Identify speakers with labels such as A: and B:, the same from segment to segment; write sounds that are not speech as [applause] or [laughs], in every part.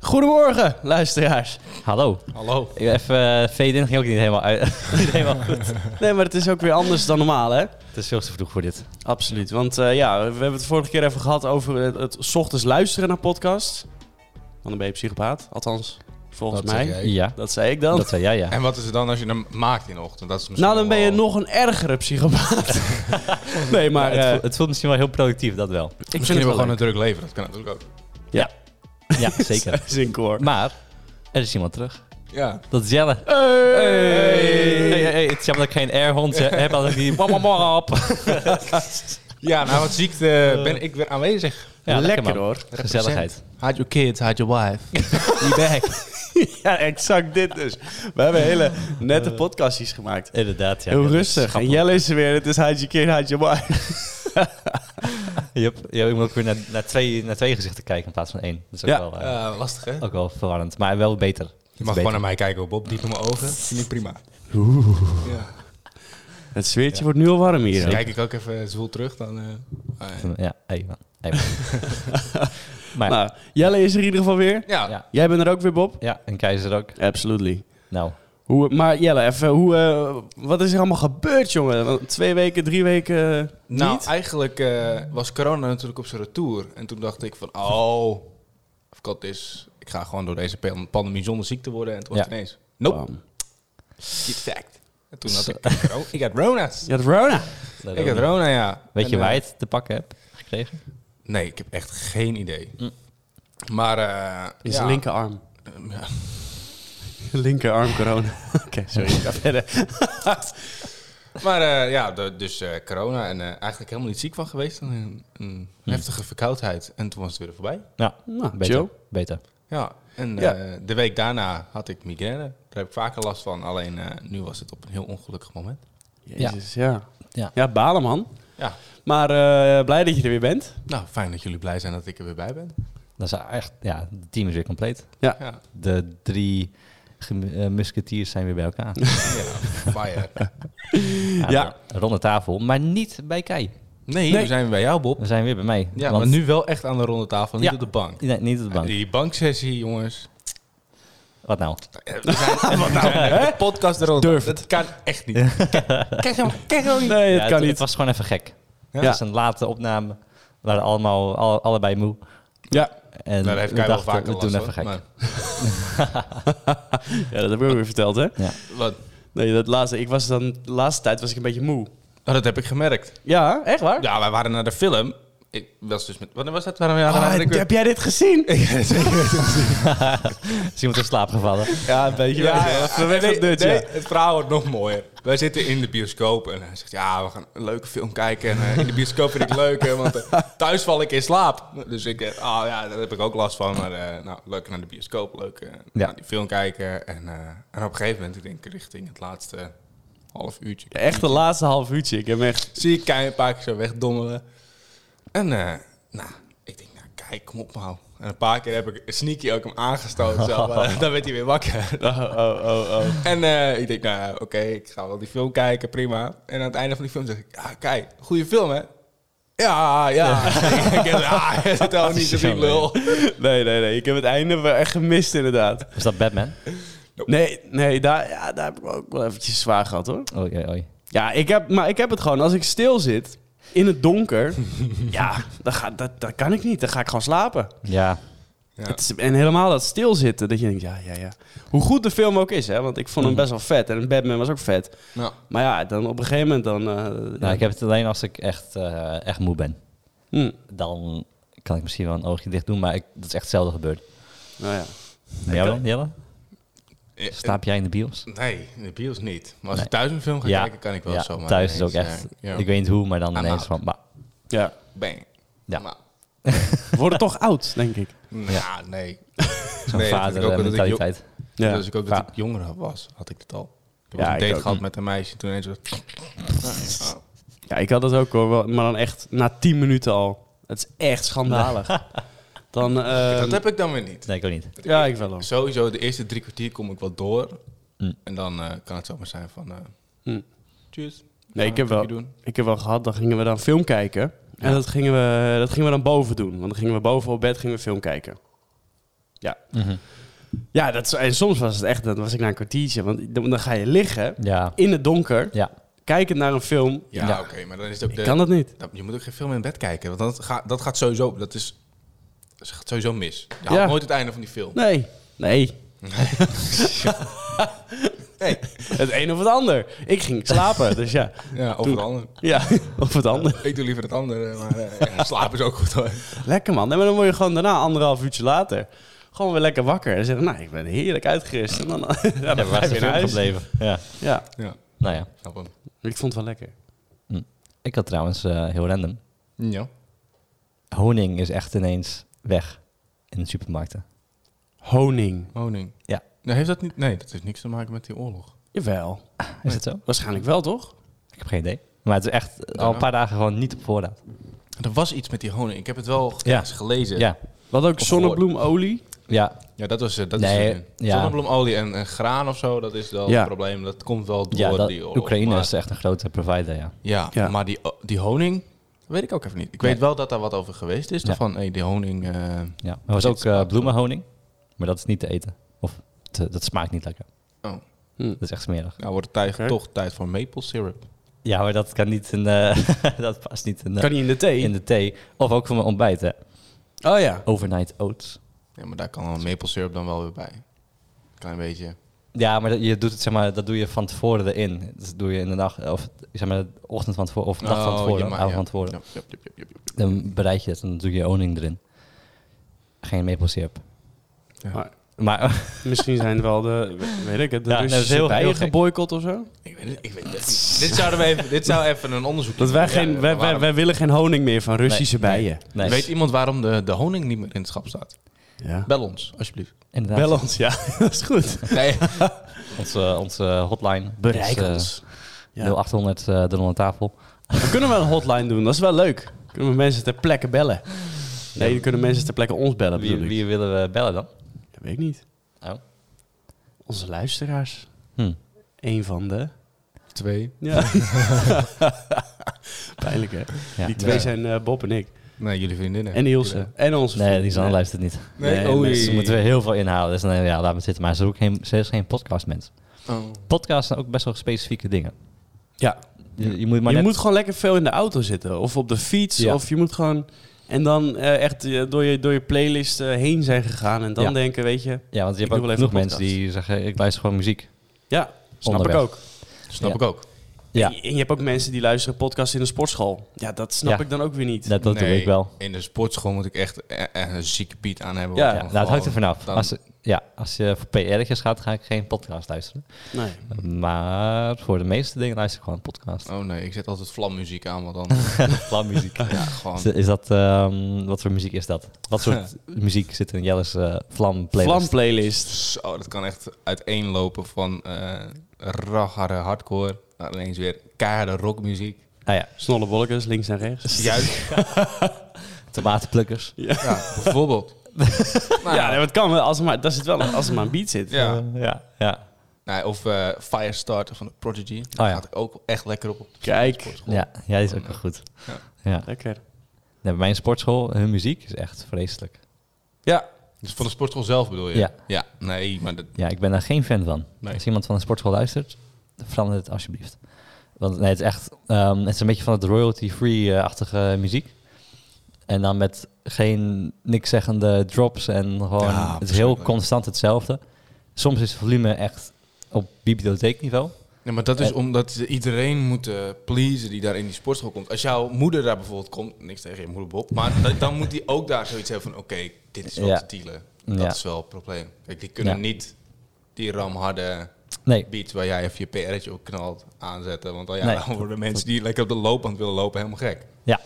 A: Goedemorgen, luisteraars.
B: Hallo.
C: Hallo.
B: Ik ben even eh, fade-in ging ook niet helemaal, uit, [laughs] niet helemaal goed.
A: Nee, maar het is ook weer anders dan normaal, hè?
B: Het is veel te vroeg voor dit.
A: Absoluut. Want eh, ja, we hebben het vorige keer even gehad over het, het 's ochtends luisteren naar podcasts. Want dan ben je psychopaat, althans, volgens
C: Dat zeg
A: mij.
C: jij.
B: Ja,
A: Dat zei ik dan.
B: dat zei jij, ja.
C: En wat is het dan als je hem maakt in de ochtend? Dat is misschien
A: nou, dan ben je
C: wel-
A: nog een ergere
B: [laughs]
A: psychopaat. nee, maar
B: het,
A: eh,
B: voelt, het voelt misschien wel heel productief, dat wel.
A: ik
C: Misschien
A: vind het
C: hebben we
A: wel
C: gewoon
A: leuk.
C: een druk leven. Dat kan natuurlijk ook.
B: Ja, [laughs] zeker.
A: [laughs] Zinkoor.
B: Maar, er is iemand terug.
C: Ja.
B: Dat is Jelle. Hey, hey, hey, Het is jammer dat ik geen airhond heb, als ik die... Wap, wap, wap.
C: Ja, nou wat ziek eh, ben ik weer aanwezig.
B: Ja,
A: lekker,
B: man.
A: hoor. [laughs]
B: Gezelligheid.
C: Hide your kids, hide your wife.
B: [laughs] Die back.
A: ja, exact dit dus. We hebben hele nette podcastjes gemaakt.
B: Inderdaad, ja.
A: Heel
B: Ja,
A: rustig. En
B: schappelijk.
A: Jelle is er weer. Het is Haidje Keer, Haidje Boy.
B: Yep. Ja, ik moet ook weer naar, naar, twee, naar twee gezichten kijken in plaats van één. Dat is ook,
A: Ja.
B: wel, eh,
C: Eh, lastig hè?
B: ook wel verwarrend, maar wel beter.
C: Je mag
B: Beter.
C: gewoon naar mij kijken op Bob. Diep in mijn ogen. Vind ik prima. Ja.
A: Het zweertje wordt nu al warm hier.
C: Dan
A: hè?
C: Dus kijk ik ook even zwoel terug. Dan, eh, ah, ja.
B: Ja, hey man. Hey, man. [laughs] maar
A: Nou, Jelle is er in ieder geval weer.
C: ja.
B: ja,
A: Jij bent er ook weer, Bob?
B: ja, en Keizer ook.
A: Absolutely.
B: Nou,
A: Hoe, maar Jelle, even, hoe, eh, wat is er allemaal gebeurd, jongen? Want Twee weken, drie weken eh,
C: Nou,
A: niet?
C: eigenlijk eh, was corona natuurlijk op zijn retour. En toen dacht ik van, oh, of kat is, ik ga gewoon door deze pan- pandemie zonder ziek te worden. En toen was
B: Ja.
C: het ineens, nope,
A: Bam.
C: keep fact. En toen had ik, corona. ik had Rona's.
A: Je had Rona.
B: dat
C: Ik
B: ook
C: had
B: niet.
C: Rona, ja.
B: Weet
C: En,
B: je
C: eh,
B: waar je het te pakken hebt gekregen?
C: Nee, ik heb echt geen idee.
B: Mm.
C: Maar, eh
A: In
C: ja,
A: zijn linkerarm.
C: ehm, [laughs] ja.
A: [laughs] Linkerarm corona. Oké, sorry. Ga verder.
C: Maar eh, ja, de- dus eh, corona en eh, eigenlijk helemaal niet ziek van geweest. Een, een heftige verkoudheid. En toen was het weer voorbij.
B: Nou,
C: Ah,
A: Nou,
B: beter.
A: chill.
B: Beter.
C: Ja, en
A: Ja.
C: eh, de week daarna had ik migraine. Daar heb ik vaker last van. Alleen eh, nu was het op een heel ongelukkig moment.
A: Jezus, ja. Ja,
B: Ja.
A: balen, man.
C: Ja,
A: Maar eh, blij dat je er weer bent.
C: nou fijn dat jullie blij zijn dat ik er weer bij ben.
B: Dat is echt, ja, het team is weer compleet.
C: Ja,
B: De drie gem- eh, musketiers zijn weer bij elkaar.
C: [laughs] ja fire.
A: Ja.
B: Rond de tafel, maar niet bij Kai.
C: Nee,
A: Nee.
C: we zijn weer bij jou, Bob.
B: We zijn weer bij mij.
C: Ja,
B: want-
C: maar nu wel echt aan de ronde tafel, niet
B: Ja.
C: op de bank.
B: Nee, niet op de bank.
C: Die banksessie, jongens.
B: Wat nou?
C: We
B: [laughs]
C: zijn, we zijn de podcast eronder.
A: Durf
C: Dat kan echt niet. Kijk hem, kijk hem niet.
A: Nee, dat
B: Ja,
A: kan
B: het,
A: niet.
B: Het was gewoon even gek.
C: Ja.
B: Het was een late opname. We waren allemaal, alle- allebei moe.
A: Ja.
B: En
C: Nou, daar heeft
B: we
C: Kai wel
B: dachten,
C: vaker
B: we doen
C: last
B: even
C: van,
B: gek.
C: maar-
A: ja, dat heb ik ook weer verteld, hè?
C: Wat?
A: Nee, dat laatste, ik was dan, de laatste tijd was ik een beetje moe.
C: Oh, dat heb ik gemerkt.
A: Ja, echt waar?
C: Ja, wij waren naar de film. Ik was dus met... Wanneer was dat? Waarom ja,
A: Ah,
C: waren
A: heb jij dit gezien?
C: [laughs]
B: Is iemand in slaap gevallen?
A: [laughs] Ja, een beetje
C: Ja,
A: wel.
C: ja.
A: Even weg
C: Nee,
A: op dit,
C: nee,
A: ja.
C: het verhaal wordt nog mooier. Wij zitten in de bioscoop en hij zegt, ja, we gaan een leuke film kijken. En eh, in de bioscoop vind ik leuk, hè, want eh, thuis val ik in slaap. Dus ik, eh, ah ja, daar heb ik ook last van. Maar eh, nou, leuk naar de bioscoop, leuk eh, naar die film kijken. En, eh, en op een gegeven moment, ik denk richting het laatste half uurtje.
A: Echt de laatste half uurtje. Ik heb echt...
C: Zie ik Kei een paar keer zo wegdommelen. En eh, nou, ik denk, nou kijk, kom op nou. En een paar keer heb ik sneaky ook hem aangestoten.
B: [laughs]
C: Zo, maar dan werd hij weer wakker.
A: Oh, oh, oh, oh.
C: En eh, ik denk, nou oké, ik ga wel die film kijken, prima. En aan het einde van die film zeg ik, ja, kijk, goede film hè? Ja, ja. [laughs] ik heb
B: [laughs]
C: ah, je hebt het al niet gezien, lul.
A: Nee, nee, nee. Ik heb het einde wel echt gemist, inderdaad.
B: Is dat
C: [laughs]
B: Batman?
A: Nee, nee, daar, ja, daar heb ik ook wel eventjes zwaar gehad, hoor.
B: Oei, oei, oei.
A: Ja, ik heb, maar ik heb het gewoon. Als ik stil zit, in het [laughs] donker... ja, dat, ga, dat, dat kan ik niet. Dan ga ik gewoon slapen.
B: Ja,
C: Ja.
A: Het is- en helemaal dat stilzitten, dat je denkt, ja, ja, ja. Hoe goed de film ook is, hè. Want ik vond hem best wel vet. En Batman was ook vet.
C: Nou,
A: Maar ja, dan op een gegeven moment dan... eh,
B: nou, ik heb het alleen als ik echt, eh, echt moe ben.
A: Hm,
B: Dan kan ik misschien wel een oogje dicht doen, maar ik, dat is echt zelden gebeurd.
A: nou ja.
B: Bij jou dan, Jelle?
C: eh,
B: Slaap jij in de bios?
C: Nee, in de bios niet. Maar als
B: Nee.
C: ik thuis een film ga
B: Ja.
C: kijken, kan ik wel
B: ja,
C: zomaar.
B: thuis is
C: ineens,
B: ook echt,
C: eh, ja,
B: ik weet niet hoe, maar dan
C: I'm
B: ineens
C: out.
B: van, bah,
A: Ja,
C: bang.
B: Ja.
C: Maar-
A: we worden toch [laughs] oud, denk ik.
C: Nou, ja.
B: [laughs]
C: nee.
B: zo'n eh,
C: Nee, dat vind ik ook wel dat ik
B: vadermentaliteit.
A: Ja.
C: Dus ik ook dat ik jonger was, had ik het al. Ik heb
A: Ja,
C: ja, een
A: ik
C: date
A: ook.
C: gehad met een meisje en toen ineens... was- Ah, ah.
A: Ja, ik had dat ook hoor, wel- maar dan echt na 10 minuten al. Het is echt schandalig. [laughs] Dan, eh,
C: dat heb ik dan weer niet.
B: Nee, ik ook niet.
A: ja, ik wel. Hoor.
C: Sowieso, de eerste drie kwartier kom ik wel door.
B: Mm.
C: En dan eh, kan het zomaar zijn van... eh
A: Mm.
C: Cheers.
A: Nee,
C: Ja,
A: ik heb wel,
C: drinkie Doen.
A: ik heb wel gehad, dan gingen we dan film kijken. En dat gingen, we, dat gingen we dan boven doen. Want dan gingen we boven op bed gingen we film kijken.
C: Mhm.
A: Ja, dat, is- en soms was het echt, dan was ik na een kwartiertje, want dan, dan ga je liggen
B: Ja.
A: in het donker,
B: Ja.
A: kijkend naar een film.
C: Ja,
B: Ja.
C: oké, maar dan is het ook
A: Ik
C: de...
A: kan dat niet.
C: dat- je moet ook geen film in bed kijken, want dat gaat, dat gaat sowieso... Dat is... Dat gaat sowieso mis. Je haalt
A: Ja.
C: nooit het einde van die film.
A: Nee, nee.
B: [laughs]
A: nee. Het een of het ander. Ik ging slapen, dus ja.
C: Ja, over het andere.
A: Ja, of het ander.
C: [laughs] Ik doe liever het andere, maar eh, ja, slaap is ook goed hoor.
A: Lekker man. Nee, maar dan word je gewoon daarna anderhalf uurtje later gewoon weer lekker wakker. En zeggen, nou, ik ben heerlijk uitgerust. En dan, [laughs] ja, dan
B: Ja,
A: ga
B: [laughs] waar
A: je weer naar
B: is de film
A: huis.
B: gebleven? Ja.
A: Ja,
C: Ja,
B: Nou ja.
C: snap hem.
A: ik vond het wel lekker.
B: Ik had trouwens eh, heel random.
C: Ja.
B: Honing is echt ineens weg in de supermarkten.
A: Honing.
C: Honing.
B: Ja.
C: Nee, heeft dat niet... Nee, dat heeft niks te maken met die oorlog.
A: Jawel.
B: Is dat zo?
A: Waarschijnlijk wel, toch?
B: Ik heb geen idee. Maar het is echt al een paar dagen gewoon niet op voorraad.
C: Er was iets met die honing. Ik heb het wel
B: Ja.
C: eens gelezen.
B: Ja.
A: Wat ook
C: Of gehoord.
A: zonnebloemolie.
B: Ja.
C: Ja, dat was eh, dat
B: Nee,
C: is het nu.
B: ja.
C: Zonnebloemolie en, en graan of zo, dat is wel
A: Ja.
C: een probleem. Dat komt wel door
B: ja dat,
C: die oorlog.
B: Oekraïne
C: maar-
B: is echt een grote provider, ja.
C: Ja,
A: Ja.
C: maar die, eh, die honing, weet ik ook even niet. Ik
B: Nee.
C: weet wel dat daar wat over geweest is.
B: Ja.
C: Van, hey, die honing... eh,
B: ja. Maar er was ook eh, bloemenhoning. Maar dat is niet te eten. Of te- dat smaakt niet lekker.
C: Oh.
A: Hm.
B: Dat is echt smerig.
C: nou wordt het tijd,
A: Oké.
C: toch tijd voor maple syrup.
B: Ja, maar dat kan niet in de- [laughs] dat past niet in de,
A: Kan niet in de thee.
B: in de thee. Of ook voor mijn ontbijt, hè.
A: Oh ja.
B: Overnight oats.
C: Ja, maar daar kan een maple syrup dan wel weer bij. Klein beetje.
B: Ja, maar dat, je doet het, zeg maar, dat doe je van tevoren erin. Dat doe je in de nacht, of zeg maar, de ochtend van tevoren, of nacht van
C: Oh,
B: tevoren,
C: ja, maar-
B: avond
C: ja.
B: van tevoren.
C: Ja, ja, ja, ja, ja, ja.
B: Dan bereid je het en dan doe je honing erin. Geen maple syrup.
C: Ja.
A: Maar-
B: Maar [laughs]
A: Misschien zijn wel de, weet ik het, de
B: Ja,
A: Russische
B: dat is heel-
A: bijen
B: heel gek.
A: geboycott of zo.
C: Ik weet het, ik weet het niet. dit, zouden we even, dit zou even een onderzoek
A: Dat wij, geen, wij, wij, wij willen geen honing meer van Russische
B: Nee.
A: bijen.
B: nee,
C: Weet iemand waarom de, de honing niet meer in het schap staat?
A: Ja.
C: Bel ons, alsjeblieft.
B: inderdaad.
A: Bel ons, ja. [laughs] Dat is goed.
B: [laughs]
C: Nee.
B: Onze, onze eh, hotline.
A: Bereik
B: is, eh,
A: ons. Ja.
B: 0800 eh, de Ronde Tafel.
A: We kunnen wel een hotline doen, dat is wel leuk. Kunnen we mensen ter plekke bellen? Nee, dan kunnen mensen ter plekke ons bellen,
B: Wie,
A: bedoel ik.
B: wie willen we bellen dan?
A: Dat weet ik niet.
B: Oh.
A: Onze luisteraars.
B: Hm.
A: Eén van de...
C: Twee.
B: [laughs]
A: Ja. Pijnlijk, hè?
B: Ja.
A: Die twee
C: Ja.
A: zijn eh, Bob en ik.
C: Nee, jullie vriendinnen.
A: En Ilse. En onze
B: Nee,
A: vriend.
B: die Sanne luistert niet.
C: Nee,
A: Nee,
C: oei.
B: Ze moeten weer heel veel inhouden. Dus dan, ja, laat me zitten. Maar ze is ook geen, ze is geen podcastmens.
C: Oh.
B: Podcasts zijn ook best wel specifieke dingen.
A: Ja.
B: Je, je moet maar
A: je
B: net-
A: moet gewoon lekker veel in de auto zitten. Of op de fiets.
B: Ja.
A: Of je moet gewoon... En dan eh, echt eh, door je, door je playlist eh, heen zijn gegaan. En dan
B: Ja.
A: denken, weet je...
B: Ja, want je
A: Ik
B: hebt
A: doe wel
B: ook
A: even
B: genoeg
A: een
B: mensen die zeggen, ik luister gewoon muziek.
A: Ja, snap
B: Onderweg.
A: ik ook.
C: Snap
B: Ja.
C: ik ook.
B: Ja,
A: En je- en je hebt ook mensen die luisteren podcasts in de sportschool. Ja, dat snap
B: Ja.
A: ik dan ook weer niet.
B: dat, dat doe
C: Nee,
B: ik wel.
C: In de sportschool moet ik echt eh, eh, een zieke beat aan hebben.
A: Ja.
C: want
B: Ja,
C: dan
B: nou, het hangt er
C: gewoon-
B: vanaf.
C: dan-
B: Als, ja, als je voor PR'tjes gaat, ga ik geen podcast luisteren.
A: Nee.
B: Maar voor de meeste dingen luister ik gewoon een podcast.
C: Oh nee, ik zet altijd vlammuziek aan, want dan...
B: Vlammuziek.
C: ja, gewoon...
B: Is, is dat, ehm, wat voor muziek is dat? Wat soort
C: [laughs]
B: muziek zit in Jelle's eh vlam playlist?
A: Vlam playlist.
C: Zo, dat kan echt uiteenlopen van eh raggarde hardcore naar ineens weer keiharde rockmuziek.
B: Ah ja,
A: Snollebolkens, links en rechts.
C: Juist.
B: tomatenplukkers.
C: ja, bijvoorbeeld. Nou,
A: ja, nee, maar het kan wel. Als er maar, dat zit wel als er maar een beat zit.
C: ja.
B: Eh, ja, ja.
C: Nee, of eh, Firestarter van de Prodigy. Daar
B: Oh, ja.
C: gaat ik ook echt lekker op. op
A: Kijk.
B: Ja, ja, die is ook wel goed.
C: Ja.
B: Ja.
A: Lekker.
B: Nee, bij mijn sportschool, hun muziek is echt vreselijk.
A: Ja.
C: Dus van de sportschool zelf bedoel je?
B: Ja.
C: Ja, nee, maar dat...
B: Ja, ik ben daar geen fan van.
C: Nee.
B: Als iemand van een sportschool luistert, verander het alsjeblieft. Want nee, het is echt, ehm, het is een beetje van het royalty-free-achtige muziek. En dan met geen niks zeggende drops en gewoon,
C: Ja,
B: het is heel
C: verschrikkelijk.
B: constant hetzelfde. Soms is volume echt op bibliotheekniveau.
C: Nee, maar dat is
B: Eh.
C: omdat ze iedereen moet eh, pleasen die daar in die sportschool komt. Als jouw moeder daar bijvoorbeeld komt, niks tegen je moeder Bob, maar dat- dan moet die ook daar zoiets hebben van oké, dit is wel
B: Ja.
C: te dealen. Dat
B: Ja.
C: is wel het probleem. Kijk, die kunnen
B: Ja.
C: niet die ramharde
B: Nee,
C: beat waar jij even je PR'tje op knalt aanzetten, want dan, ja,
B: Nee.
C: dan worden mensen die lekker op de loopband willen lopen helemaal gek.
B: ja.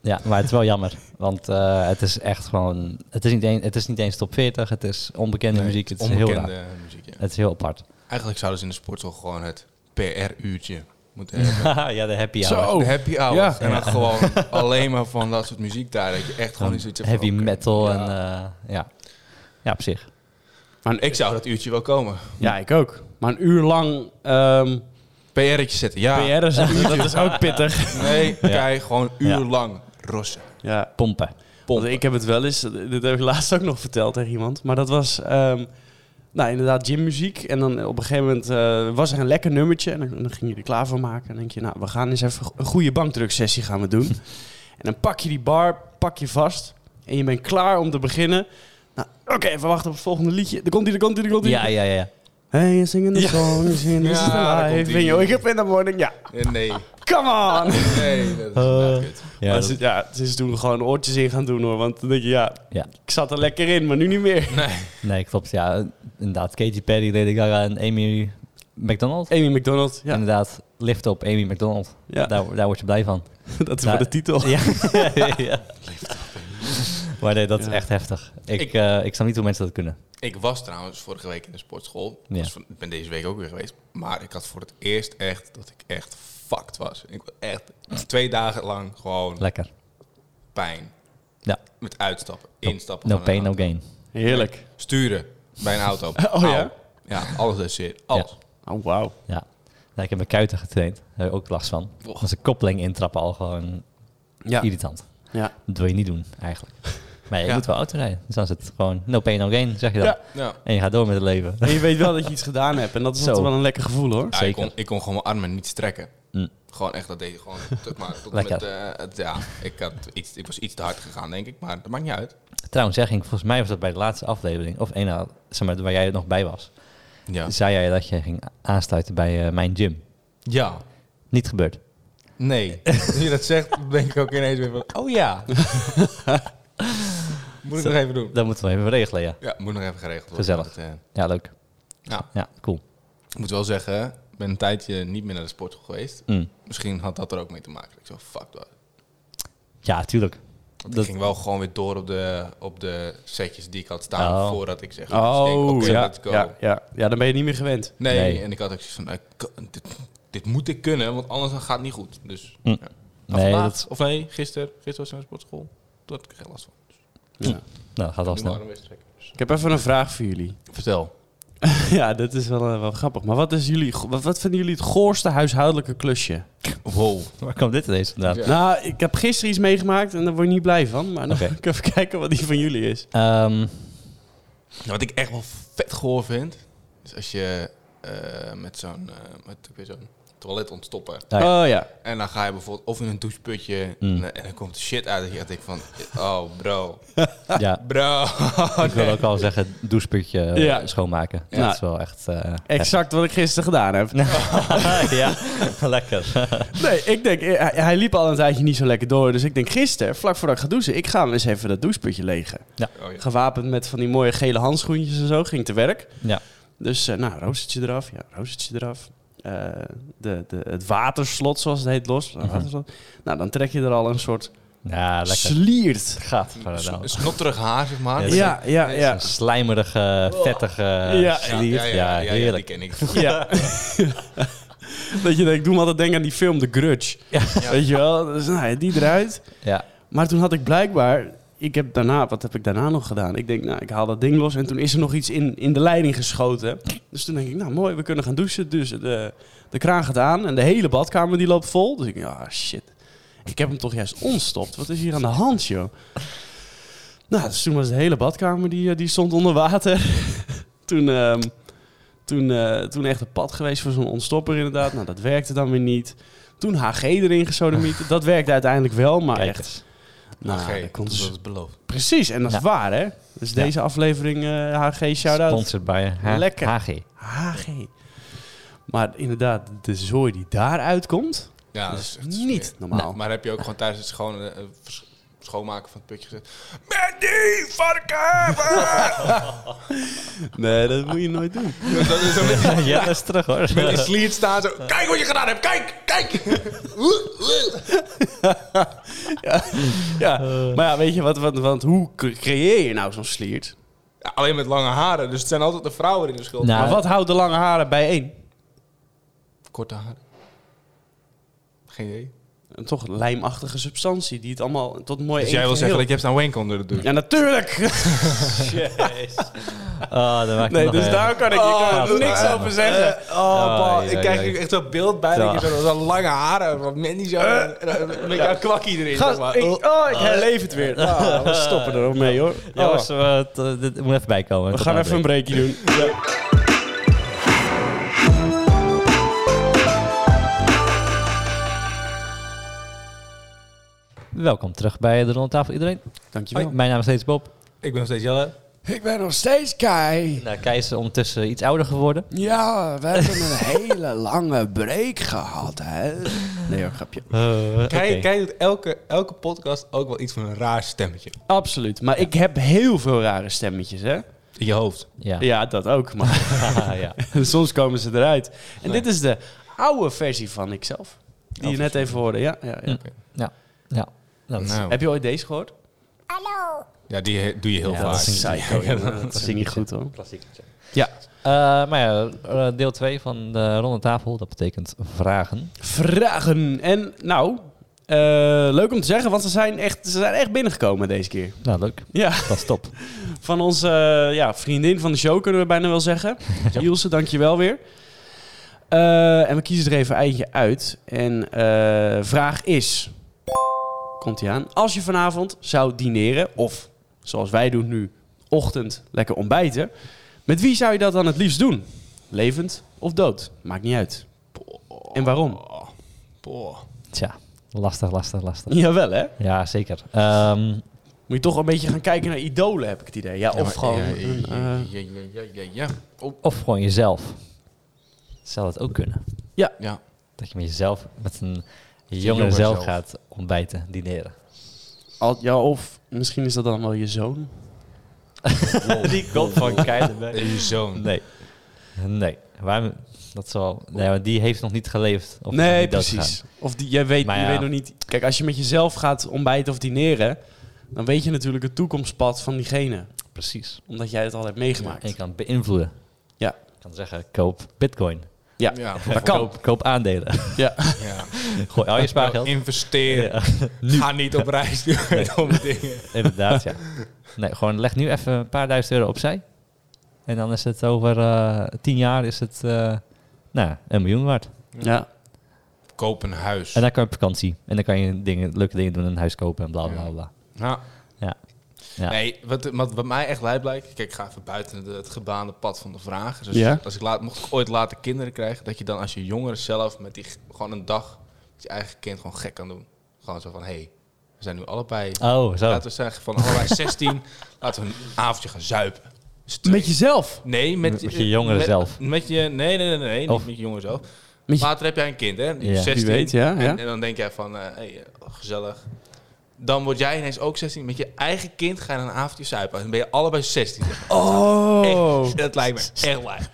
B: Ja, maar het is wel jammer. Want eh, het is echt gewoon, het is, niet een, het is niet eens top 40, het is onbekende
C: Nee,
B: muziek, het is heel
C: onbekende
B: raar.
C: muziek. ja.
B: Het is heel apart. [laughs]
C: Eigenlijk zouden ze in de sportschool gewoon het PR-uurtje moeten hebben.
B: ja, de happy hour.
C: De happy hour.
A: Ja.
C: En dan gewoon alleen maar van dat soort muziek daar. Dat je echt gewoon
B: Gewoon
C: iets zoiets hebt van,
B: heavy
C: oké,
B: metal
C: ja.
B: en eh, ja. ja, op zich.
A: Maar een,
C: Ik zou dat uurtje wel komen.
A: ja, ik ook. Maar een uur lang ehm
C: PR'tje zetten, ja.
A: PR is, dat is ook pittig.
C: Nee, kijk, gewoon een uur
B: Ja.
C: lang rossen.
A: Ja.
B: Pompen.
A: Want ik heb het wel eens, dit heb ik laatst ook nog verteld tegen iemand. Maar dat was, ehm, nou inderdaad, gymmuziek. En dan op een gegeven moment eh, was er een lekker nummertje. En dan, dan ging je er klaar voor maken. En dan denk je, nou, we gaan eens even een goede bankdruksessie gaan we
B: [laughs]
A: doen. en dan pak je die bar, pak je vast. En je bent klaar om te beginnen. Nou, oké, even wachten op het volgende liedje. Er komt die, er komt die, er komt die.
B: Ja, ja, ja.
A: Hey, you're singing the
B: Ja.
A: song, you're singing
C: Ja, daar
A: the
C: komt
A: life.
C: die.
A: En joh, ik heb in de morning, ja,
C: Eh, Nee,
A: come on.
B: [laughs]
C: nee, dat is inderdaad
B: Eh.
C: kut.
A: Ja,
B: Ja, dat-
A: ze, ja, ze is toen gewoon oortjes in gaan doen hoor. Want dan denk je, ja,
B: Ja.
A: ik zat er lekker in, maar nu niet meer.
B: nee, klopt. Ja, inderdaad. Katy Perry, Lady Gaga en Amy McDonald.
A: Amy McDonald, ja,
B: Inderdaad, lift op Amy McDonald.
A: ja
B: Daar, daar word je blij
C: [laughs]
A: [laughs]
B: van.
A: dat is
B: daar-
A: voor de titel.
B: Ja. ja. Maar nee, dat is
A: Ja.
B: echt heftig. Ik,
C: Ik-
B: ik, ik snap niet hoe mensen dat kunnen.
C: Ik was trouwens vorige week in de sportschool.
B: Ja.
C: Dus van- Ik ben deze week ook weer geweest. Maar ik had voor het eerst echt dat ik echt fucked was. Ik was echt twee dagen lang gewoon
B: Lekker.
C: pijn.
B: Ja.
C: Met uitstappen, instappen.
B: No
C: van een
B: pain, no
C: auto.
B: gain.
A: Heerlijk.
C: Sturen bij een
B: [laughs]
C: auto.
A: Oh, ja?
C: Au. Ja, alles is zit. Alles.
A: Oh, wauw.
B: Ja. Nou, ik heb mijn kuiten getraind. Daar heb ik ook last van.
C: Och.
B: Als een koppeling intrappen al gewoon
A: Ja.
B: irritant.
A: Ja.
B: Dat wil je niet doen, eigenlijk.
A: [laughs]
B: Maar je
C: Ja.
B: moet wel auto rijden. Dus dan is het gewoon no pain, no gain, zeg je dan.
A: Ja.
C: Ja.
B: En je gaat door met het leven. [laughs]
A: En je weet wel dat je iets gedaan hebt. En dat is
B: Zo.
A: altijd wel een lekker gevoel hoor.
C: Ja, ik, kon, ik kon gewoon mijn armen niet strekken.
B: Mm.
C: Gewoon echt, dat deed je gewoon. Tot, maar, tot en
B: Lekker.
C: met, eh, het- ja, ik, had iets, ik was iets te hard gegaan, denk ik. Maar dat maakt niet uit.
B: Trouwens, zeg ik, volgens mij was dat bij de laatste aflevering, of een, na- zeg maar, waar jij nog bij was,
C: Ja.
B: zei jij dat je ging aansluiten bij eh, mijn gym.
C: Ja.
B: Niet gebeurd. [laughs]
C: Nee. Als je dat zegt, denk ik ook ineens weer van... Oh ja. moet ik nog even doen.
B: Dat moeten we even regelen, ja.
C: Ja, moet nog even geregeld worden.
B: Gezellig.
C: Dat, eh,
B: Ja, leuk.
C: Ja.
B: Ja, cool.
C: ik moet wel zeggen, ik ben een tijdje niet meer naar de sport geweest.
B: Mm.
C: Misschien had dat er ook mee te maken. Ik zo, fuck dat.
B: Ja, tuurlijk.
C: Want
B: Dat-
C: ik ging wel gewoon weer door op de, op de setjes die ik had staan
B: Oh.
C: voordat ik zeg...
A: Oh,
C: oké,
A: ja,
C: let's go.
A: ja, ja. Ja, dan ben je niet meer gewend.
C: Nee,
B: Nee.
C: en ik had ook zoiets van, eh, k- dit, dit moet ik kunnen, want anders gaat het niet goed. Dus
B: Mm.
C: ja. Maar
B: Nee,
C: vandaag,
B: dat is-
C: of nee, gisteren, gisteren was ik naar de sportschool. Toen had ik er geen last van.
A: Ja.
B: Nou, gaat wel
C: Nu mijn
B: snel.
C: arm weer strekken. Dus-
A: Hm. Ik heb even een vraag voor jullie. [laughs]
C: Vertel.
A: ja, dit is wel, eh, wel grappig. Maar wat, is jullie, wat, wat vinden jullie het goorste huishoudelijke klusje?
C: Wow.
B: Waar komt dit ineens vandaan?
C: Ja.
A: Nou, ik heb gisteren iets meegemaakt en daar word je niet blij van. Maar dan [laughs]
B: Oké.
A: kan ik even kijken wat die van jullie is.
B: Ehm,
C: Nou, wat ik echt wel vet goor vind, is als je eh, met zo'n eh, met, ik weet zo'n toilet ontstoppen.
B: Ah,
A: Oh ja.
C: En dan ga je bijvoorbeeld of in een doucheputje
B: Mm.
C: en, en dan komt de shit uit. En je echt denkt van, oh bro,
A: Ah,
B: ja,
C: bro.
B: ik wil ook al zeggen, doucheputje eh,
A: Ja.
B: schoonmaken.
A: Ja.
B: Dat is wel echt... eh,
A: Exact wat ik gisteren gedaan heb. [laughs]
B: heftig. [laughs] ja, lekker.
A: Nee, ik denk, eh, hij, hij liep al een tijdje niet zo lekker door. Dus ik denk gisteren, vlak voordat ik ga douchen, ik ga hem eens even dat doucheputje legen.
C: Oh, ja.
A: Gewapend met van die mooie gele handschoentjes en zo, ging te werk.
B: Ja.
A: Dus eh, nou, roostertje eraf, ja, roostertje eraf. Eh, de, de, het waterslot, zoals het heet, los.
B: Mhm.
A: Waterslot. Nou, dan trek je er al een soort
B: Ja, lekker.
A: sliert.
B: Gaat.
C: Een
B: Ja,
C: sn- een snotterig haar, zeg maar.
B: Ja,
C: ja,
A: Ja, ja, ja.
B: Zo'n slijmerige, vettige
A: Ja.
B: slier. Oh. Ja,
C: ja, die
B: heerlijk.
C: ken ik.
B: [laughs]
A: ja. dat je denkt, doe me altijd denken aan die film The Grudge.
C: Ja.
A: Weet je wel? Dus, nou, ja, die eruit.
B: Ja.
A: Maar toen had ik blijkbaar... Ik heb daarna, wat heb ik daarna nog gedaan? Ik denk, nou, ik haal dat ding los. En toen is er nog iets in, in de leiding geschoten. Dus toen denk ik, nou mooi, we kunnen gaan douchen. Dus de, de kraan gaat aan en de hele badkamer die loopt vol. Dus ik denk, ah shit. Ik heb hem toch juist onstopt. Wat is hier aan de hand, joh? Nou, dus toen was de hele badkamer, die, eh, die stond onder water. [laughs] toen, ehm, toen, eh, toen echt een pad geweest voor zo'n ontstopper inderdaad. Nou, dat werkte dan weer niet. Toen HG erin gesodemieten. Dat werkte uiteindelijk wel, maar
B: Kijk
A: echt...
B: eens.
A: Nou,
C: Oké,
A: dat komt
C: dat
A: dus-
C: is beloofd.
A: Precies, en dat is
B: Ja.
A: waar, hè? Dus
B: Ja.
A: deze aflevering, eh, HG, shout-out.
B: Sponsored bij H-
A: Lekker.
B: HG.
A: HG. Maar inderdaad, de zooi die daaruit komt,
C: Ja,
A: dat
C: Ah, dat
A: is
C: echt
A: niet normaal.
C: Maar heb je ook gewoon tijdens het schoon, eh, vers- schoonmaken van het putje gezegd... Mandy, varken! [laughs]
A: Nee, dat moet je nooit doen.
C: dat is zo met die,
B: [laughs] Ja, dat is terug hoor.
C: met die sliert staan zo... Kijk wat je gedaan hebt, kijk, kijk!
A: Ja, maar ja, weet je, wat, wat, want hoe cre- creëer je nou zo'n sliert?
C: Ja, alleen met lange haren, dus het zijn altijd de vrouwen in de schuld.
B: Nou,
A: maar wat houdt de lange haren bijeen?
C: Korte haren. Geen idee.
A: Oké. een toch lijmachtige substantie die het allemaal tot een mooi
C: Dus
A: één
C: jij wil zeggen dat
A: geheel-
C: je hebt aan Wank onder de douche.
A: Ja, natuurlijk!
B: Ah, dat maakt
A: Nee,
B: het nog
A: dus
B: erger.
A: daar kan ik, ik kan er
C: Oh,
A: niks
C: eh,
A: over zeggen.
C: eh, oh, Paul,
B: ja,
C: ik krijg
B: ja,
C: hier
B: ja.
C: echt zo'n beeld bij dat je
B: Ja.
C: zo- zo'n lange haren van Mandy zo en en een beetje een kwakkie erin. zeg maar.
A: Eh. Gast, ik, oh, ik herleef het weer. Nou, we stoppen er ook mee, hoor. Oh.
B: Jongens, eh, het, eh, dit moet even bijkomen.
A: We gaan even een breakje doen.
B: Welkom terug bij de Ronde Tafel, iedereen.
A: Dankjewel.
B: Mijn naam is steeds Bob.
C: Ik ben nog steeds Jelle.
A: Ik ben nog steeds Kai.
B: Nou, Kees is ondertussen iets ouder geworden.
A: Ja, we hebben [laughs] een hele lange break gehad, hè? Nee hoor, grapje.
B: Eh,
C: Kijk, doet elke, elke podcast ook wel iets van een raar stemmetje.
A: Absoluut. Maar ik heb heel veel rare stemmetjes, hè?
C: In je hoofd.
B: Ja.
A: Ja, dat ook.
B: [laughs]
A: Maar
B: Haha, ja.
A: soms komen ze eruit. En dit is de oude versie van ikzelf. Die je net even hoorde. Ja, ja,
B: Hm.
A: ja.
B: ja. Dat is-
C: Nou,
A: Heb je ooit deze gehoord?
C: ja, die he- doe je heel
B: Ja,
C: vaak.
B: dat is een-
A: Psycho.
B: Ja,
A: jongen. dat is niet goed, hoor. Ja.
B: Eh, maar ja, eh, deel 2 van de Ronde Tafel, dat betekent vragen.
A: Vragen. En nou, eh, leuk om te zeggen, want ze zijn echt, ze zijn echt binnengekomen deze keer.
B: Nou, leuk.
A: Ja.
B: Dat is top.
A: Van onze eh, ja, vriendin van de show, kunnen we bijna wel
C: [laughs]
A: zeggen.
B: Ja.
A: Ilse, dankjewel weer. Eh, en we kiezen er even eentje uit. En eh, vraag is... Komt ie aan. Als je vanavond zou dineren, of zoals wij doen nu, ochtend lekker ontbijten... met wie zou je dat dan het liefst doen? Levend of dood? Maakt niet uit. En waarom? [laughs]
C: Boah.
B: Tja, lastig, lastig, lastig.
A: Jawel, hè?
B: Ja, zeker. Ehm,
A: Moet je toch een beetje gaan kijken naar idolen, heb ik het idee. Ja, of gewoon...
C: Ja, ja,
A: eh,
C: ja, ja, ja, ja. Oh,
B: of gewoon jezelf. Zou dat ook kunnen?
C: ja.
B: Dat je met jezelf, met een jonge zelf,
C: zelf.
B: gaat ontbijten, dineren.
A: al- ja, of misschien is dat dan wel je zoon.
B: [laughs] Die komt van Keizer.
C: Je zoon.
B: Nee. Nee. Waarom? Dat zal. Nee, maar die heeft nog niet geleefd. Of nog
A: nee,
B: niet doodgegaan.
A: precies. Of die, jij weet,
B: Maar
A: je
B: ja.
A: weet nog niet. Kijk, als je met jezelf gaat ontbijten of dineren, dan weet je natuurlijk het toekomstpad van diegene.
B: Precies.
A: Omdat jij het al hebt
B: En je
A: meegemaakt.
B: kan het beïnvloeden.
A: Ja.
B: Je kan zeggen, koop bitcoin.
A: Ja,
C: Ja,
A: dat kan.
B: Koop, koop aandelen.
C: ja.
B: Gooi al je
C: Nou,
B: spaargeld.
C: Investeren.
B: Ja,
C: Ga niet op reis doen met [laughs] domme dingen.
B: inderdaad,
C: [laughs]
B: ja. Nee, gewoon leg nu even een paar duizend euro opzij. En dan is het over eh, tien jaar is het eh, nou, een miljoen waard.
A: Ja.
C: Koop een huis.
B: En dan kan je op vakantie. En dan kan je dingen, leuke dingen doen. Een huis kopen en bla bla bla.
C: Ja.
B: Ja. Ja.
C: Nee, wat, wat bij mij echt lijp blijkt... Kijk, ik ga even buiten de- het gebaande pad van de vraag. Dus
A: Ja.
C: als ik laat, mocht ik ooit later kinderen krijgen... dat je dan als je jongeren zelf met die, g- gewoon een dag... met je eigen kind gewoon gek kan doen. Gewoon zo van, hé, hey, we zijn nu allebei...
B: Oh, zo.
C: Laten we zeggen, van
B: [laughs]
C: allebei 16... laten we een avondje gaan zuipen. Dus twee-
A: Met jezelf.
C: Nee, met,
B: Met- met je jongeren
C: met-
B: zelf.
C: Met je, nee, nee, nee, nee, nee,
B: Of-
C: niet met je jongeren zelf.
A: Met je-
C: Later heb jij een kind, hè? Die
B: Ja.
C: is
B: Wie
C: 16.
A: weet, ja,
C: En,
A: ja.
C: en dan denk jij van, eh hey, eh, gezellig. Dan word jij ineens ook 16. Met je eigen kind ga je dan een avondje zuipen. Dan ben je allebei 16.
A: Oh,
C: Echt, dat lijkt
A: [laughs]
C: me echt lijp.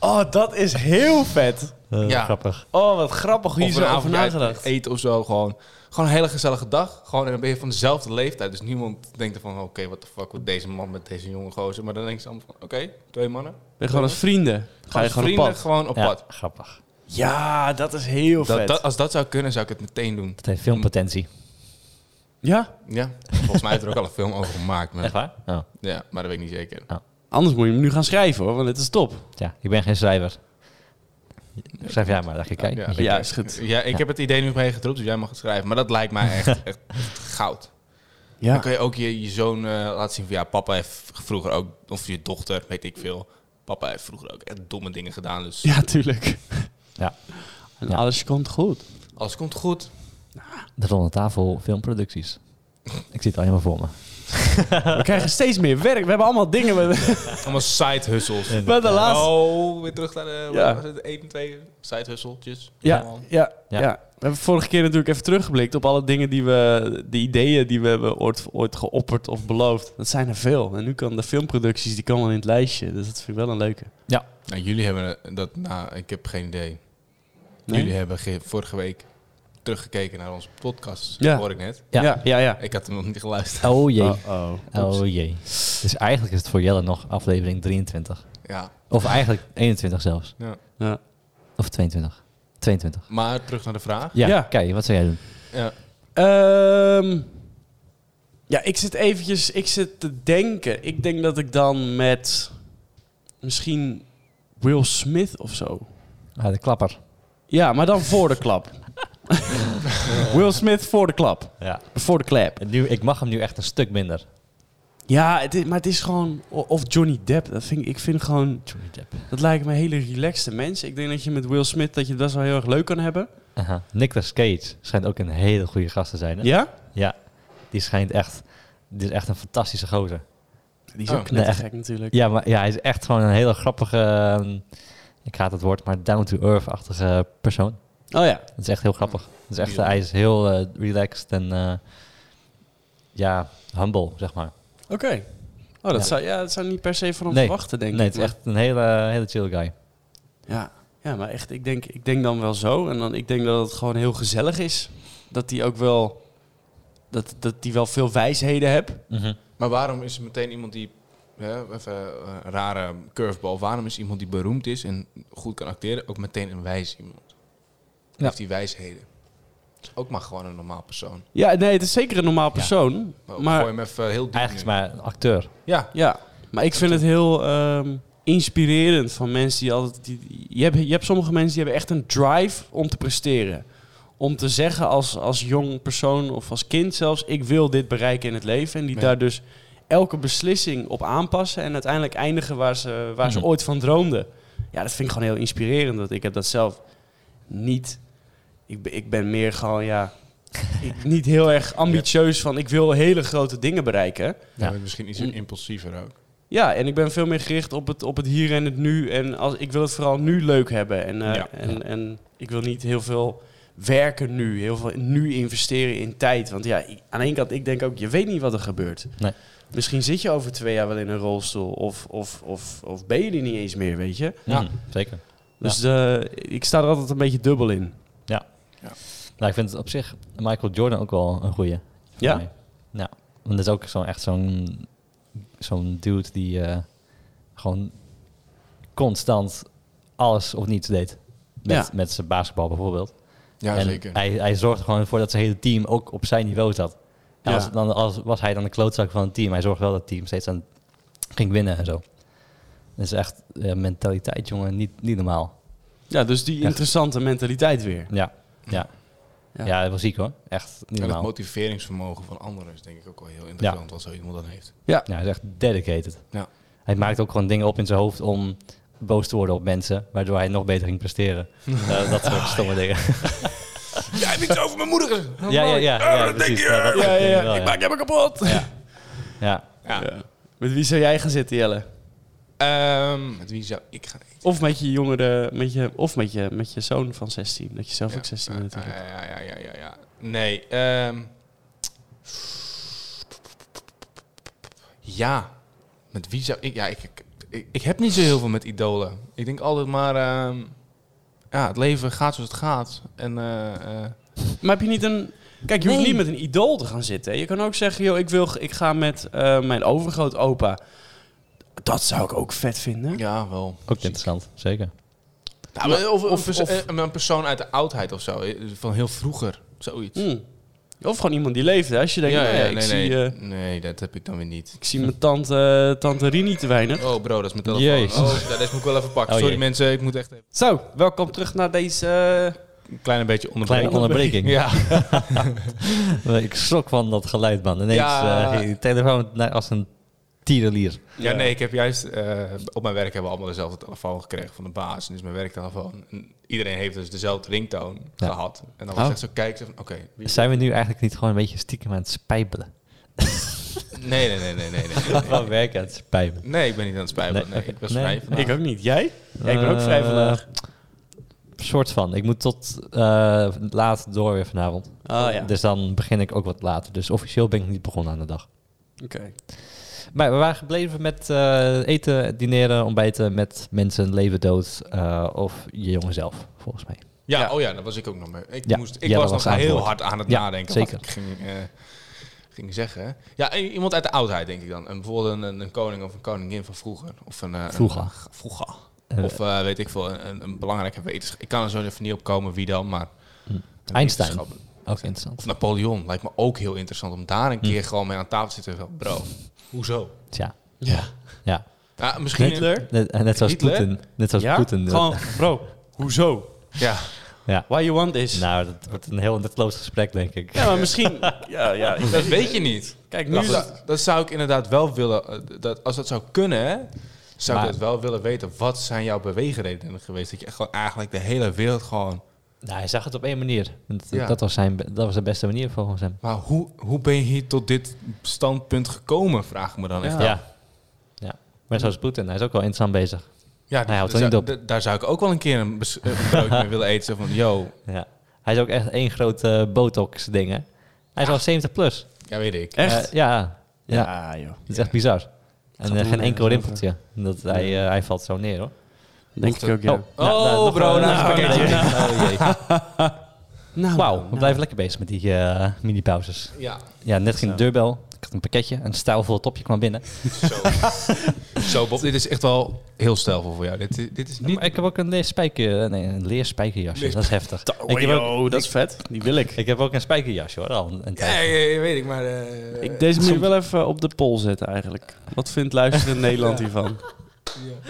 A: oh, dat is heel vet.
B: Eh,
C: Ja.
B: Grappig.
A: Oh, wat grappig hoe je
C: Of een
A: zo over
C: avondje uit
A: nagedacht.
C: eten of zo. Gewoon, gewoon een hele gezellige dag. Gewoon, en dan ben je van dezelfde leeftijd. Dus niemand denkt er van, oké, wat de fuck wordt deze man met deze jonge gozer. Maar dan denken ze allemaal van, oké, twee mannen.
A: Ben je gewoon als vrienden. Ga je
C: Als
A: gewoon op
C: vrienden
A: pad.
C: gewoon op
B: Ja,
C: pad.
B: grappig.
A: Ja, dat is heel
C: Dat,
A: vet.
C: dat, als dat zou kunnen, zou ik het meteen doen.
B: Dat heeft veel potentie.
A: Ja,
C: Ja, volgens mij heeft er ook al een film over gemaakt. Maar,
B: Echt waar? Oh.
C: ja, maar dat weet ik niet zeker.
A: anders moet je hem nu gaan schrijven hoor, want het is top.
B: Ja, ik ben geen schrijver. Schrijf jij maar, dat je kijkt.
C: Ja,
B: Ja,
C: ik,
A: Ja, is goed.
C: ja, ik
B: Ja.
C: heb het idee nu meegetropt, dus jij mag het schrijven. Maar dat lijkt mij
A: [laughs]
C: echt, echt goud. Dan
A: Ja.
C: kun je ook je, je zoon eh, laten zien van... Ja, papa heeft vroeger ook... Of je dochter, weet ik veel. Papa heeft vroeger ook echt domme dingen gedaan. Dus
A: Ja, tuurlijk.
B: Ja.
A: En
B: Ja.
A: alles komt goed.
C: alles komt goed.
B: De Ronde Tafel Filmproducties. ik zie het al helemaal voor me.
A: We krijgen steeds meer werk. We hebben allemaal dingen. We,
C: Allemaal side hustles.
B: En-
A: we de laatste
C: Oh, weer terug naar de
A: Ja.
C: wat was het, 1 en 2 side hustletjes.
A: Ja, ja, ja.
B: Ja.
A: We hebben vorige keer natuurlijk even teruggeblikt op alle dingen die we, de ideeën die we hebben ooit, ooit geopperd of beloofd. Dat zijn er veel. En nu kan de filmproducties, die komen in het lijstje. Dus dat vind ik wel een leuke.
C: Nou, jullie hebben eh, dat... Nou, ik heb geen idee.
A: Nee?
C: Jullie hebben ge- vorige week teruggekeken naar onze podcast.
A: Ja.
C: hoor ik net.
A: Ja,
B: Ja.
A: ja, ja.
C: Ik had hem nog niet
B: [laughs]
C: geluisterd.
B: Oh jee. Oh,
A: Uh-oh.
B: jee. Dus eigenlijk is het voor Jelle nog aflevering 23.
C: Ja.
B: Of eigenlijk 21 zelfs.
C: ja.
A: Ja.
B: Of 22. 22.
C: Maar terug naar de vraag.
B: Ja,
A: Ja.
B: kijk, wat zou jij doen?
C: Ja.
A: Ehm, ja, ik zit eventjes... Ik zit te denken. Ik denk dat ik dan met... Misschien Will Smith of zo.
B: Ah, de klapper.
A: Ja, maar dan voor de klap.
B: [laughs]
A: Will Smith voor de klap.
B: Ja.
A: Voor de klap.
B: En nu, ik mag hem nu echt een stuk minder.
A: Ja, het is, maar het is gewoon... o- Of Johnny Depp. Dat vind ik, ik vind gewoon...
B: Johnny Depp.
A: Dat lijken me hele relaxte mensen. Ik denk dat je met Will Smith dat je het best wel heel erg leuk kan hebben.
B: Aha. Nicolas Cage schijnt ook een hele goede gast te zijn.
A: Ja?
B: hè? Ja. Die schijnt echt... Die is echt een fantastische gozer.
A: Die is
C: Oh.
A: ook knettergek natuurlijk.
B: Ja, maar ja, hij is echt gewoon een hele grappige... ehm, ik haat het woord, maar down-to-earth-achtige persoon.
A: Oh ja.
B: Dat is echt heel grappig. Dat is echt,
C: Ja.
B: hij is heel eh, relaxed en eh, ja, humble, zeg maar.
A: Oké. Oh, dat,
B: Ja.
A: Zou, ja, dat zou niet per se van hem
B: Nee.
A: verwachten, denk
B: nee,
A: ik.
B: het is echt een hele, hele chill guy.
A: Ja, ja maar echt, ik denk, ik denk dan wel zo. En dan, ik denk dat het gewoon heel gezellig is. Dat die ook wel... Dat, dat die wel veel wijsheden hebt.
B: Mhm.
C: Maar waarom is er meteen iemand die... hè, even eh, een rare curveball. Waarom is iemand die beroemd is en goed kan acteren ook meteen een wijs iemand?
B: Ja.
C: Heeft die wijsheden. Ook maar gewoon een normaal persoon.
A: Ja, Oh, nee, het is zeker een normaal persoon.
C: Maar,
A: Maar,
C: gooi hem even heel diep
B: Eigenlijk is
C: nu.
B: het maar een acteur.
C: Ja,
A: ja, maar ik vind het heel ehm, inspirerend van mensen die altijd... Die, die- je, hebt, je hebt sommige mensen die hebben echt een drive om te presteren. Om te zeggen als, als jong persoon of als kind zelfs... ik wil dit bereiken in het leven. En die
C: Ja.
A: daar dus elke beslissing op aanpassen... en uiteindelijk eindigen waar ze, waar ze
B: Mhm.
A: ooit van droomden. Ja, dat vind ik gewoon heel inspirerend. Want ik heb dat zelf niet... Ik, ben- ik ben meer gewoon, ja... ik- niet heel erg ambitieus van... ik wil hele grote dingen bereiken...
B: Ja.
C: Ja, Misschien iets
A: Mm.
C: impulsiever ook.
A: Ja, en ik ben veel meer gericht op het, op het hier en het nu. En als, ik wil het vooral nu leuk hebben. En, eh,
C: Ja.
A: en, en ik wil niet heel veel werken nu. Heel veel nu investeren in tijd. Want ja, ik- aan de ene kant, ik denk ook, je weet niet wat er gebeurt.
B: Nee.
A: Misschien zit je over twee jaar wel in een rolstoel. Of, of, of, of ben je er niet eens meer, weet je.
B: Ja.
C: Ja.
B: Mm. zeker.
A: Dus eh, ik sta er altijd een beetje dubbel in.
B: Nou, ik vind het op zich Michael Jordan ook wel een goeie. voor
A: Ja?
B: mij. Ja. Want dat is ook zo'n echt zo'n zo'n dude die eh, gewoon constant alles of niets deed. Met,
A: Ja.
B: met zijn basketbal bijvoorbeeld.
C: Ja,
B: en
C: zeker.
B: Hij, hij zorgde gewoon voor dat zijn hele team ook op zijn niveau zat. En
A: Ja.
B: als, het dan, als was hij dan de klootzak van het team, hij zorgde wel dat het team steeds aan ging winnen en zo. Dat is echt eh, mentaliteit, jongen, niet, niet normaal.
A: Ja, dus die
B: Echt.
A: interessante mentaliteit weer.
B: Ja, ja.
A: Ja.
B: Ja, dat was ziek hoor. Echt niet
C: En het
B: normaal.
C: motiveringsvermogen van anderen is denk ik ook wel heel interessant wat zo iemand dan heeft.
B: Ja, hij is echt dedicated.
C: Ja.
B: Hij maakt ook gewoon dingen op in zijn hoofd om boos te worden op mensen, waardoor hij nog beter ging presteren. Eh, dat soort stomme dingen.
C: Jij hebt iets over mijn moeder gezegd.
B: ja, ja, ja, ja, precies. Ja, dat soort dingen wel, ja.
A: je me kapot.
B: Ja.
C: Ja.
A: Ja. Met wie zou jij gaan zitten, Jelle?
C: Ehm, met wie zou ik gaan eten?
A: Of met je jongere, met je, of met je, met je zoon van 16. Dat je zelf ook 16 bent
C: Ja,
A: natuurlijk.
C: ja, ja, ja, ja, ja. Nee. ehm, ja. Met wie zou ik... Ja, ik, ik, ik, ik heb niet zo heel veel met idolen. Ik denk altijd maar... ehm, ja, het leven gaat zoals het gaat. En eh, eh,
A: Maar heb je niet een... Kijk, je hoeft
B: Nee.
A: niet met een idool te gaan zitten. hè. Je kan ook zeggen, joh, ik, wil, ik ga met eh, mijn overgrootopa. Dat zou ik ook vet vinden.
C: ja, wel.
B: Ook interessant, zeker.
C: Nou, maar of,
A: of-
C: of, eh,
A: of-
C: een persoon uit de oudheid of zo. eh, Van heel vroeger. Zoiets.
A: Hm. Of gewoon iemand die leefde. Als je denkt, nou ja, ik, zie,
C: nee.
A: eh,
C: nee, dat heb ik dan weer niet.
A: ik zie mijn tante, tante Rini te weinig.
C: Oh bro, dat is mijn telefoon.
B: Jezus.
C: Oh, ja, deze moet ik wel even pakken.
B: Oh,
C: Sorry
B: jee.
C: mensen, ik moet echt even
A: Zo, welkom terug naar deze... eh,
C: een klein beetje
B: Kleine
C: onderbreken. [laughs]
B: onderbreking.
C: Ja.
B: [laughs] Ik schrok van dat geluid, man. Ineens
C: Ja.
B: eh, je telefoon naar- als een tierenlier.
C: ja, nee, ik heb juist... eh, op mijn werk hebben we allemaal dezelfde telefoon gekregen van de baas. En dus mijn werktelefoon. En iedereen heeft dus dezelfde ringtoon
B: Ja.
C: gehad. En dan was
B: Oh.
C: echt zo kijken. zo van, Oké. wie-
B: Zijn we nu eigenlijk niet gewoon een beetje stiekem aan het spijbelen?
C: nee, nee, nee, nee, nee, nee,
B: [laughs]
C: nee.
B: Gewoon werken aan het spijbelen.
C: Nee, ik ben niet aan het spijbelen.
B: Nee,
C: Nee,
B: oké.
C: ik was
B: Nee.
C: vrij vandaag.
A: Ik ook niet. Jij? Ja, ik ben ook vrij
B: Eh,
A: vandaag.
B: soort van. Ik moet tot eh, laat door weer vanavond.
A: Oh ja,
B: Dus dan begin ik ook wat later. Dus officieel ben ik niet begonnen aan de dag.
A: oké.
B: Maar we waren gebleven met eh, eten, dineren, ontbijten met mensen, leven, dood eh, of je jongen zelf, volgens mij.
C: Ja,
A: Ja.
C: oh ja, daar was ik ook nog mee. Ik,
B: Ja.
C: moest,
B: Ja,
C: ik
B: dat
C: was nog
B: was het
C: heel
B: antwoord.
C: hard aan het
B: Ja,
C: nadenken
B: zeker.
C: wat ik ging, eh, ging zeggen. Ja, i- iemand uit de oudheid, denk ik dan. Een, bijvoorbeeld een, een, een koning of een koningin van vroeger. Of een, eh, een-
B: Vroeger.
C: vroeger.
B: Eh,
C: Of eh, weet ik veel, een, een, een belangrijke wetenschap. Ik kan er zo even niet op komen wie dan, maar... een
B: Hmm. Einstein.
C: wetenschapper.
B: Ook interessant.
C: Of Napoleon lijkt me ook heel interessant om daar
B: Hmm.
C: een keer gewoon mee aan tafel te zitten. en zeggen, Bro, hoezo?
B: Tja.
A: Ja.
B: Ja.
C: Ja, misschien
A: Hitler?
B: Net, en net zoals
C: Hitler?
B: Poetin. Net zoals
A: Ja?
B: Poetin. eh.
A: Gewoon, bro, hoezo?
B: [laughs]
C: Ja,
B: Ja.
A: Why you want this?
B: Nou, dat wordt een heel nutteloos gesprek, denk ik.
A: Ja, maar misschien... ja, ja. ik-
C: dat weet je niet.
A: Kijk, nu
C: Dat,
A: is het-
C: zou- dat zou ik inderdaad wel willen. eh, Dat, als dat zou kunnen, hè, zou
B: Maar-
C: ik dat wel willen weten. Wat zijn jouw beweegredenen geweest? Dat je echt gewoon eigenlijk de hele wereld gewoon.
B: Nou, hij zag het op één manier. Dat,
C: Ja.
B: dat was zijn, be- dat was de beste manier volgens hem.
C: Maar hoe, hoe ben je hier tot dit standpunt gekomen? Vraag ik me dan echt.
B: Ja. ja. Maar zoals Poetin, hij is ook wel interessant bezig.
C: Ja,
B: Hij houdt
C: daar
B: Nou er niet
C: zou- daar zou ik ook wel een keer een bes- een broodje mee willen eten. Zo Van, yo,
B: Ja. Hij is ook echt één grote eh, botox-ding, hè. Hij is al 70 plus.
C: ja, weet ik.
A: Echt?
B: Eh, ja. ja.
A: ja, joh.
B: Dat is echt bizar.
A: Gaat
B: En eh,
A: er
B: geen
A: nergens
B: enkel
A: over.
B: rimpeltje. Dat hij, eh, hij valt zo neer, hoor.
A: Denk ik ook, ja.
C: Oh, bro, nou is het pakketje.
B: Oh, jee.
C: [laughs]
A: Nou,
B: Wauw, we
A: nou.
B: blijven lekker bezig met die eh, mini-pauzes.
C: Ja,
B: Ja, net ging de deurbel. Ik had een pakketje. Een stijlvol topje kwam binnen.
C: zo. zo, Bob, dit is echt wel heel stijlvol voor jou. Dit, is- dit is niet.
B: Maar ik heb ook een leerspijker... eh, Nee, een leerspijkerjasje. Dat is
C: [laughs]
B: heftig.
A: Oh,
B: Ik heb ook,
A: joh, dat is vet. Die wil ik.
B: ik heb ook een spijkerjasje, hoor. Al een, een
C: Ja,
B: tijd.
C: ja, ja, weet ik, maar. eh,
A: Ik deze moet je wel even op de poll zetten eigenlijk. Wat vindt [laughs] luisterend Nederland hiervan?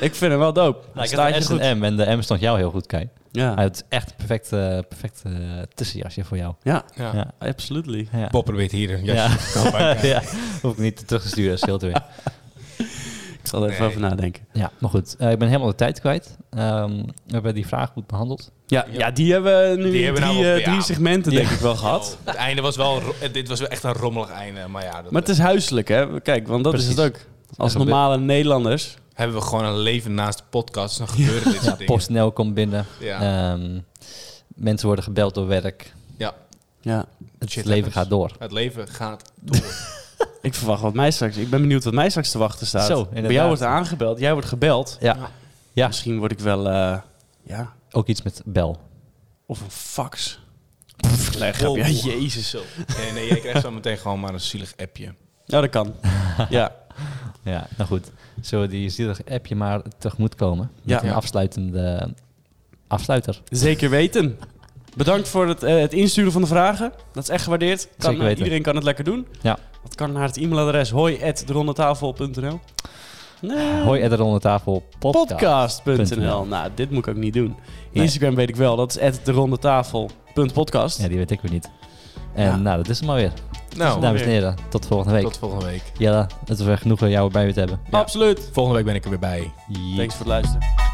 A: Ik vind hem wel dope.
B: Nou, ik
A: Staat
B: had
A: je
B: een S
A: goed.
B: en M en de M stond jou heel goed, Kai. Ah,
A: Ja,
B: het is echt een perfect, eh, perfect eh, tussenjasje voor jou.
A: ja,
C: ja.
B: Ja.
A: absolutely.
B: Ja.
C: Bob probeert hier een
B: Ja.
C: jasje. te kopen.
B: [laughs] ja, hoef ik niet terug te sturen, dat scheelt weer.
A: Ik zal er even
C: Nee.
A: over nadenken.
B: Ja, maar goed, eh, ik ben helemaal de tijd kwijt. Ehm, we hebben die vraag goed behandeld.
A: Ja, ja die hebben we nu
C: Die
A: in
C: hebben we
A: drie,
C: nou wel-
A: eh, drie
C: ja.
A: segmenten
B: Ja.
A: denk ik wel gehad.
C: Het einde was wel, ro- eh, dit was wel echt een rommelig einde, maar ja, dat
A: Maar het is huiselijk hè. Kijk, want dat is het
B: Precies.
A: ook. Als
B: Even
A: normale Nederlanders.
C: eh, hebben we gewoon een leven naast de podcast, dan gebeuren dit
B: Ja,
C: soort dingen.
B: PostNL komt binnen.
C: Ja.
B: Ehm, mensen worden gebeld door werk.
A: Ja.
B: Het
C: Shit
B: leven
C: happens.
B: gaat door.
C: Het leven gaat door.
A: Ik verwacht wat mij straks. Ik ben benieuwd wat mij straks te wachten staat.
B: Zo,
A: Bij
B: inderdaad.
A: jou wordt er aangebeld. Jij wordt gebeld.
B: Ja, Ja.
A: Misschien word ik wel. eh, ja.
B: ook iets met bel.
A: Of een fax. Oh. Nee, grapje.
C: Wow.
A: Ja, jezus.
C: Zo. Nee, nee, jij krijgt zo meteen gewoon maar een zielig appje.
A: Ja, Nou, dat
B: [laughs]
A: kan. Ja.
B: Ja, nou goed. Zullen we die zielig appje maar tegemoetkomen? Met
A: Ja.
B: een afsluitende afsluiter.
A: Zeker weten. Bedankt voor het, eh, het insturen van de vragen. Dat is echt gewaardeerd. Kan,
B: Zeker weten.
A: Iedereen kan het lekker doen.
B: Ja.
A: Dat kan naar het e-mailadres hoi.rondetafel.nl Nee.
B: Hoi, Edder onder tafel. Podcast.
A: Podcast.nl. Nou, dit moet ik ook niet doen.
B: Nee.
A: Instagram weet ik wel. Dat is derondetafel.podcast.
B: Ja, die weet ik weer niet. En
A: Ja.
B: nou, dat is het maar weer.
C: Nou,
B: Dames en
A: weer.
B: heren, tot volgende week.
C: tot volgende week.
B: Jelle, het was weer genoeg om jou erbij weer te hebben.
C: Ja.
A: Absoluut.
C: Volgende week ben ik er weer bij.
A: Thanks voor het luisteren.